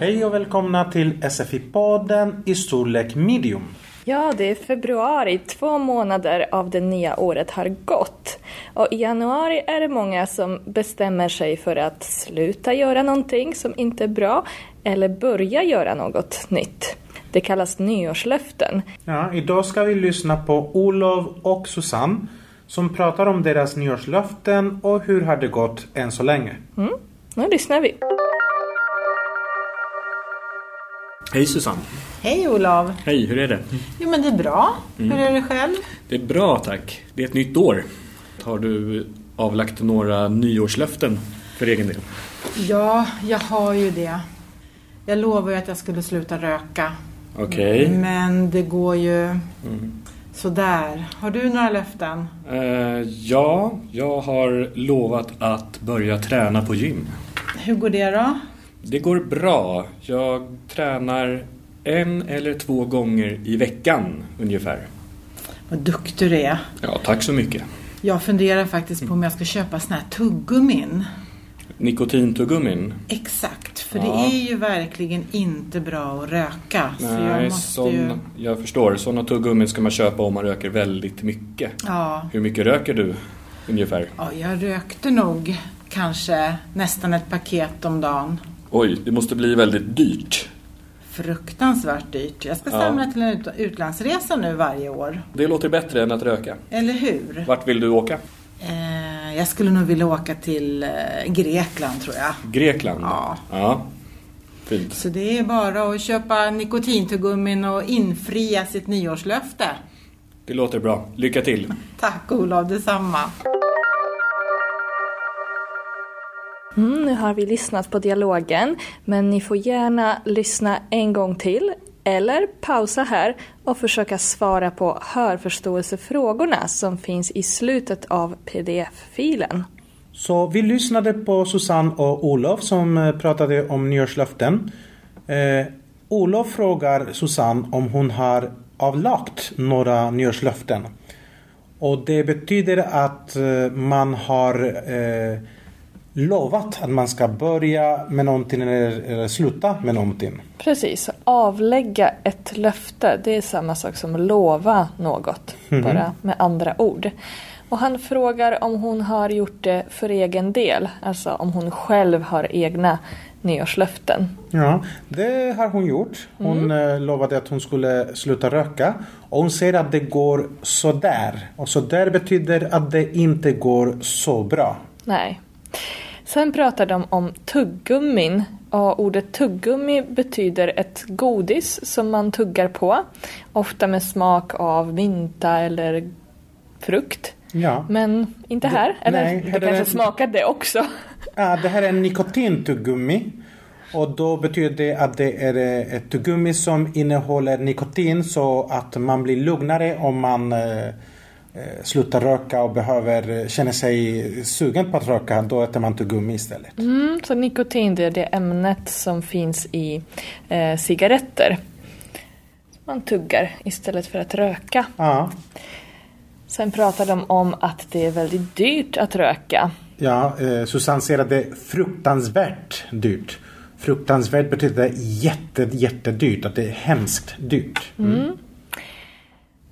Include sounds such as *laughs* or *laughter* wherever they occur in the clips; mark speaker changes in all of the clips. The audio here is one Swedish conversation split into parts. Speaker 1: Hej och välkomna till SFI-podden i storlek medium.
Speaker 2: Ja, det är februari. Två månader av det nya året har gått. Och i januari är det många som bestämmer sig för att sluta göra någonting som inte är bra eller börja göra något nytt. Det kallas nyårslöften.
Speaker 1: Ja, idag ska vi lyssna på Olof och Susanne som pratar om deras nyårslöften och hur har det gått än så länge.
Speaker 2: Mm, nu lyssnar vi.
Speaker 3: Hej Susanne!
Speaker 4: Hej Olav! Mm.
Speaker 3: Hej, hur är det?
Speaker 4: Jo men det är bra. Hur är det själv?
Speaker 3: Det är bra tack. Det är ett nytt år. Har du avlagt några nyårslöften för egen del?
Speaker 4: Ja, jag har ju det. Jag lovade ju att jag skulle sluta röka.
Speaker 3: Okej. Mm.
Speaker 4: Men det går ju sådär. Har du några löften?
Speaker 3: Eh, ja, jag har lovat att börja träna på gym.
Speaker 4: Hur går det då?
Speaker 3: Det går bra. Jag tränar en eller två gånger i veckan ungefär.
Speaker 4: Vad duktig du är.
Speaker 3: Ja, tack så mycket.
Speaker 4: Jag funderar faktiskt på om jag ska köpa såna här tuggummin.
Speaker 3: Nikotintuggummin?
Speaker 4: Exakt, för
Speaker 3: Ja.
Speaker 4: det är ju verkligen inte bra att röka. så Alltså, jag
Speaker 3: Nej,
Speaker 4: måste ju...
Speaker 3: sån, jag förstår. Sådana tuggummin ska man köpa om man röker väldigt mycket.
Speaker 4: Ja.
Speaker 3: Hur mycket röker du ungefär?
Speaker 4: ja, jag rökte nog kanske nästan ett paket om dagen.
Speaker 3: Oj, det måste bli väldigt dyrt.
Speaker 4: Fruktansvärt dyrt. Jag ska
Speaker 3: Ja.
Speaker 4: samla till en ut- utlandsresa nu varje år.
Speaker 3: Det låter bättre än att röka.
Speaker 4: Eller hur?
Speaker 3: Vart vill du åka?
Speaker 4: Eh, jag skulle nog vilja åka till eh, Grekland tror jag.
Speaker 3: Grekland?
Speaker 4: Ja.
Speaker 3: ja. Fint.
Speaker 4: Så det är bara att köpa nikotintuggummin och infria sitt nyårslöfte.
Speaker 3: Det låter bra. Lycka till.
Speaker 4: Tack Olav, detsamma.
Speaker 2: Mm, nu har vi lyssnat på dialogen, men ni får gärna lyssna en gång till eller pausa här och försöka svara på hörförståelsefrågorna som finns i slutet av pdf-filen.
Speaker 1: Så vi lyssnade på Susanne och Olof som eh, pratade om nyårslöften. Eh, Olof frågar Susanne om hon har avlagt några nyårslöften. Och det betyder att eh, man har eh, lovat att man ska börja med någonting eller, eller sluta med någonting.
Speaker 2: Precis, avlägga ett löfte, det är samma sak som lova något, bara med andra ord. Och han frågar om hon har gjort det för egen del, alltså om hon själv har egna nyårslöften.
Speaker 1: Ja, det har hon gjort. Hon eh, lovade att hon skulle sluta röka. Och hon säger att det går sådär. Och sådär betyder att det inte går så bra.
Speaker 2: Nej. Sen pratar de om tuggummin och ordet tuggummi betyder ett godis som man tuggar på, ofta med smak av mynta eller frukt.
Speaker 1: Ja.
Speaker 2: Men inte här, eller
Speaker 1: nej,
Speaker 2: det
Speaker 1: här är
Speaker 2: kanske
Speaker 1: det-
Speaker 2: smakar det också.
Speaker 1: ja, Ah, det här är en nikotintuggummi. Och då betyder det att det är eh, ett tuggummi som innehåller nikotin så att man blir lugnare om man eh, eh, slutar röka och behöver, känner sig sugen på att röka. Då äter man tuggummi istället.
Speaker 2: Mm, så nikotin det är det ämnet som finns i eh, cigaretter. Man tuggar istället för att röka.
Speaker 1: Ja.
Speaker 2: Sen pratar de om att det är väldigt dyrt att röka.
Speaker 1: Ja, eh, Susanne säger att det är fruktansvärt dyrt. Fruktansvärt betyder jätte, jättedyrt, att det är hemskt dyrt.
Speaker 2: Mm.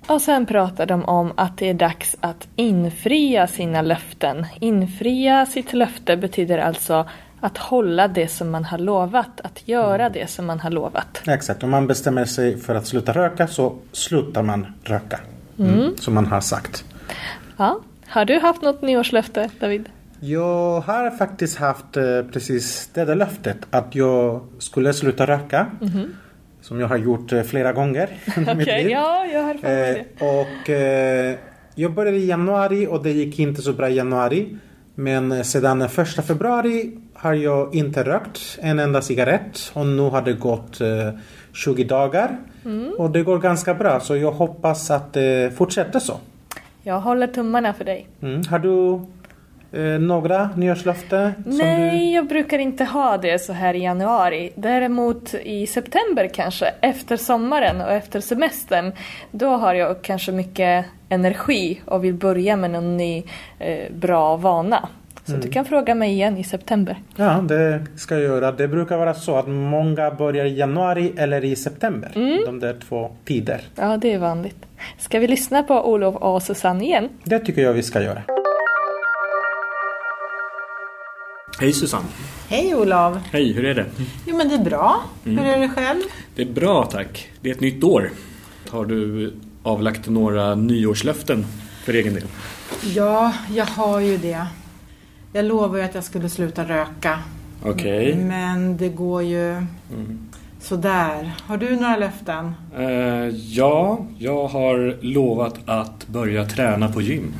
Speaker 2: Och sen pratar de om att det är dags att infria sina löften. Infria sitt löfte betyder alltså att hålla det som man har lovat, att göra
Speaker 1: Mm.
Speaker 2: det som man har lovat.
Speaker 1: Exakt, om man bestämmer sig för att sluta röka så slutar man röka. Mm, Som man har sagt.
Speaker 2: Ja. Har du haft något nyårslöfte, David?
Speaker 1: Jag har faktiskt haft eh, precis det där löftet att jag skulle sluta röka. Som jag har gjort eh, flera gånger. *laughs* i mitt
Speaker 2: Mm-hmm. *laughs* Okej,
Speaker 1: liv.
Speaker 2: ja, jag har för mig
Speaker 1: Eh,
Speaker 2: det.
Speaker 1: och eh, jag började i januari och det gick inte så bra i januari. Men eh, sedan den första februari har jag inte rökt en enda cigarett och nu har det gått eh, 20 dagar. Och det går ganska bra så jag hoppas att det fortsätter så.
Speaker 2: Jag håller tummarna för dig.
Speaker 1: Mm. Har du eh, några nyårslöften? som
Speaker 2: Nej, jag brukar inte ha det så här i januari. Däremot i september kanske, efter sommaren och efter semestern. Då har jag kanske mycket energi och vill börja med någon ny eh, bra vana. Så du kan fråga mig igen i september.
Speaker 1: Ja, det ska jag göra. Det brukar vara så att många börjar i januari eller i september. De där två tider.
Speaker 2: Ja, det är vanligt. Ska vi lyssna på Olof och Susanne igen?
Speaker 1: Det tycker jag vi ska göra.
Speaker 3: Hej Susanne!
Speaker 4: Hej Olav!
Speaker 3: Hej, hur är det?
Speaker 4: Jo men det är bra.
Speaker 3: Mm.
Speaker 4: Hur är det själv?
Speaker 3: Det är bra tack. Det är ett nytt år. Har du avlagt några nyårslöften för egen del?
Speaker 4: Ja, jag har ju det. Jag lovade ju att jag skulle sluta röka.
Speaker 3: Okej. Mm.
Speaker 4: Men det går ju sådär. Har du några löften?
Speaker 3: Eh, ja, jag har lovat att börja träna på gym.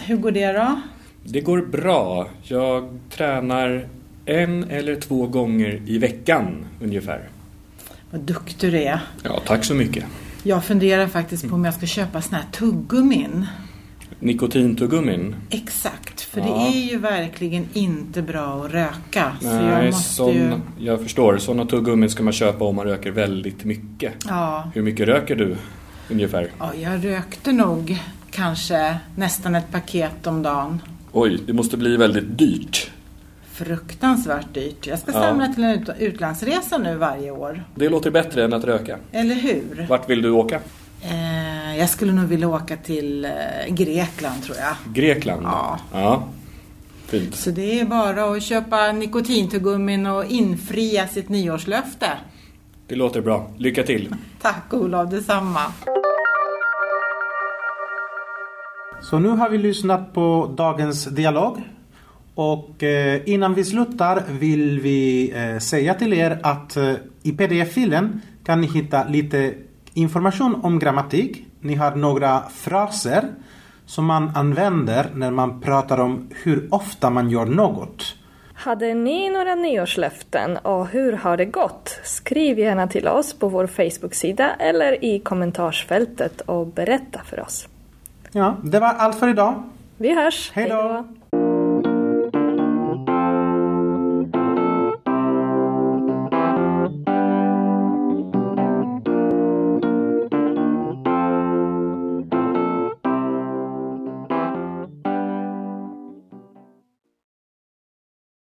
Speaker 4: Hur går det då?
Speaker 3: Det går bra. Jag tränar en eller två gånger i veckan ungefär.
Speaker 4: Vad duktig du är.
Speaker 3: Ja, tack så mycket.
Speaker 4: Jag funderar faktiskt på om jag ska köpa såna här tuggummin.
Speaker 3: Nikotintuggummin?
Speaker 4: Exakt, för det
Speaker 3: Ja.
Speaker 4: är ju verkligen inte bra att röka. så jag
Speaker 3: Nej,
Speaker 4: måste ju...
Speaker 3: sån, jag förstår. Sådana tuggummin ska man köpa om man röker väldigt mycket.
Speaker 4: Ja.
Speaker 3: Hur mycket röker du ungefär?
Speaker 4: ja, jag rökte nog kanske nästan ett paket om dagen.
Speaker 3: Oj, det måste bli väldigt dyrt.
Speaker 4: Fruktansvärt dyrt. Jag ska
Speaker 3: Ja.
Speaker 4: samla till en ut- utlandsresa nu varje år.
Speaker 3: Det låter bättre än att röka.
Speaker 4: Eller hur?
Speaker 3: Vart vill du åka?
Speaker 4: Eh, jag skulle nog vilja åka till eh, Grekland tror jag.
Speaker 3: Grekland?
Speaker 4: Ja.
Speaker 3: ja. Fint.
Speaker 4: Så det är bara att köpa nikotintuggummin och infria sitt nyårslöfte.
Speaker 3: Det låter bra. Lycka till.
Speaker 4: Tack Olof, detsamma.
Speaker 1: Så nu har vi lyssnat på dagens dialog. Och eh, innan vi slutar vill vi eh, säga till er att eh, i pdf-filen kan ni hitta lite information om grammatik. Ni har några fraser som man använder när man pratar om hur ofta man gör något.
Speaker 2: Hade ni några nyårslöften och hur har det gått? Skriv gärna till oss på vår Facebook-sida eller i kommentarsfältet och berätta för oss.
Speaker 1: Ja, det var allt för idag.
Speaker 2: Vi hörs!
Speaker 1: Hej då.
Speaker 2: Hej då.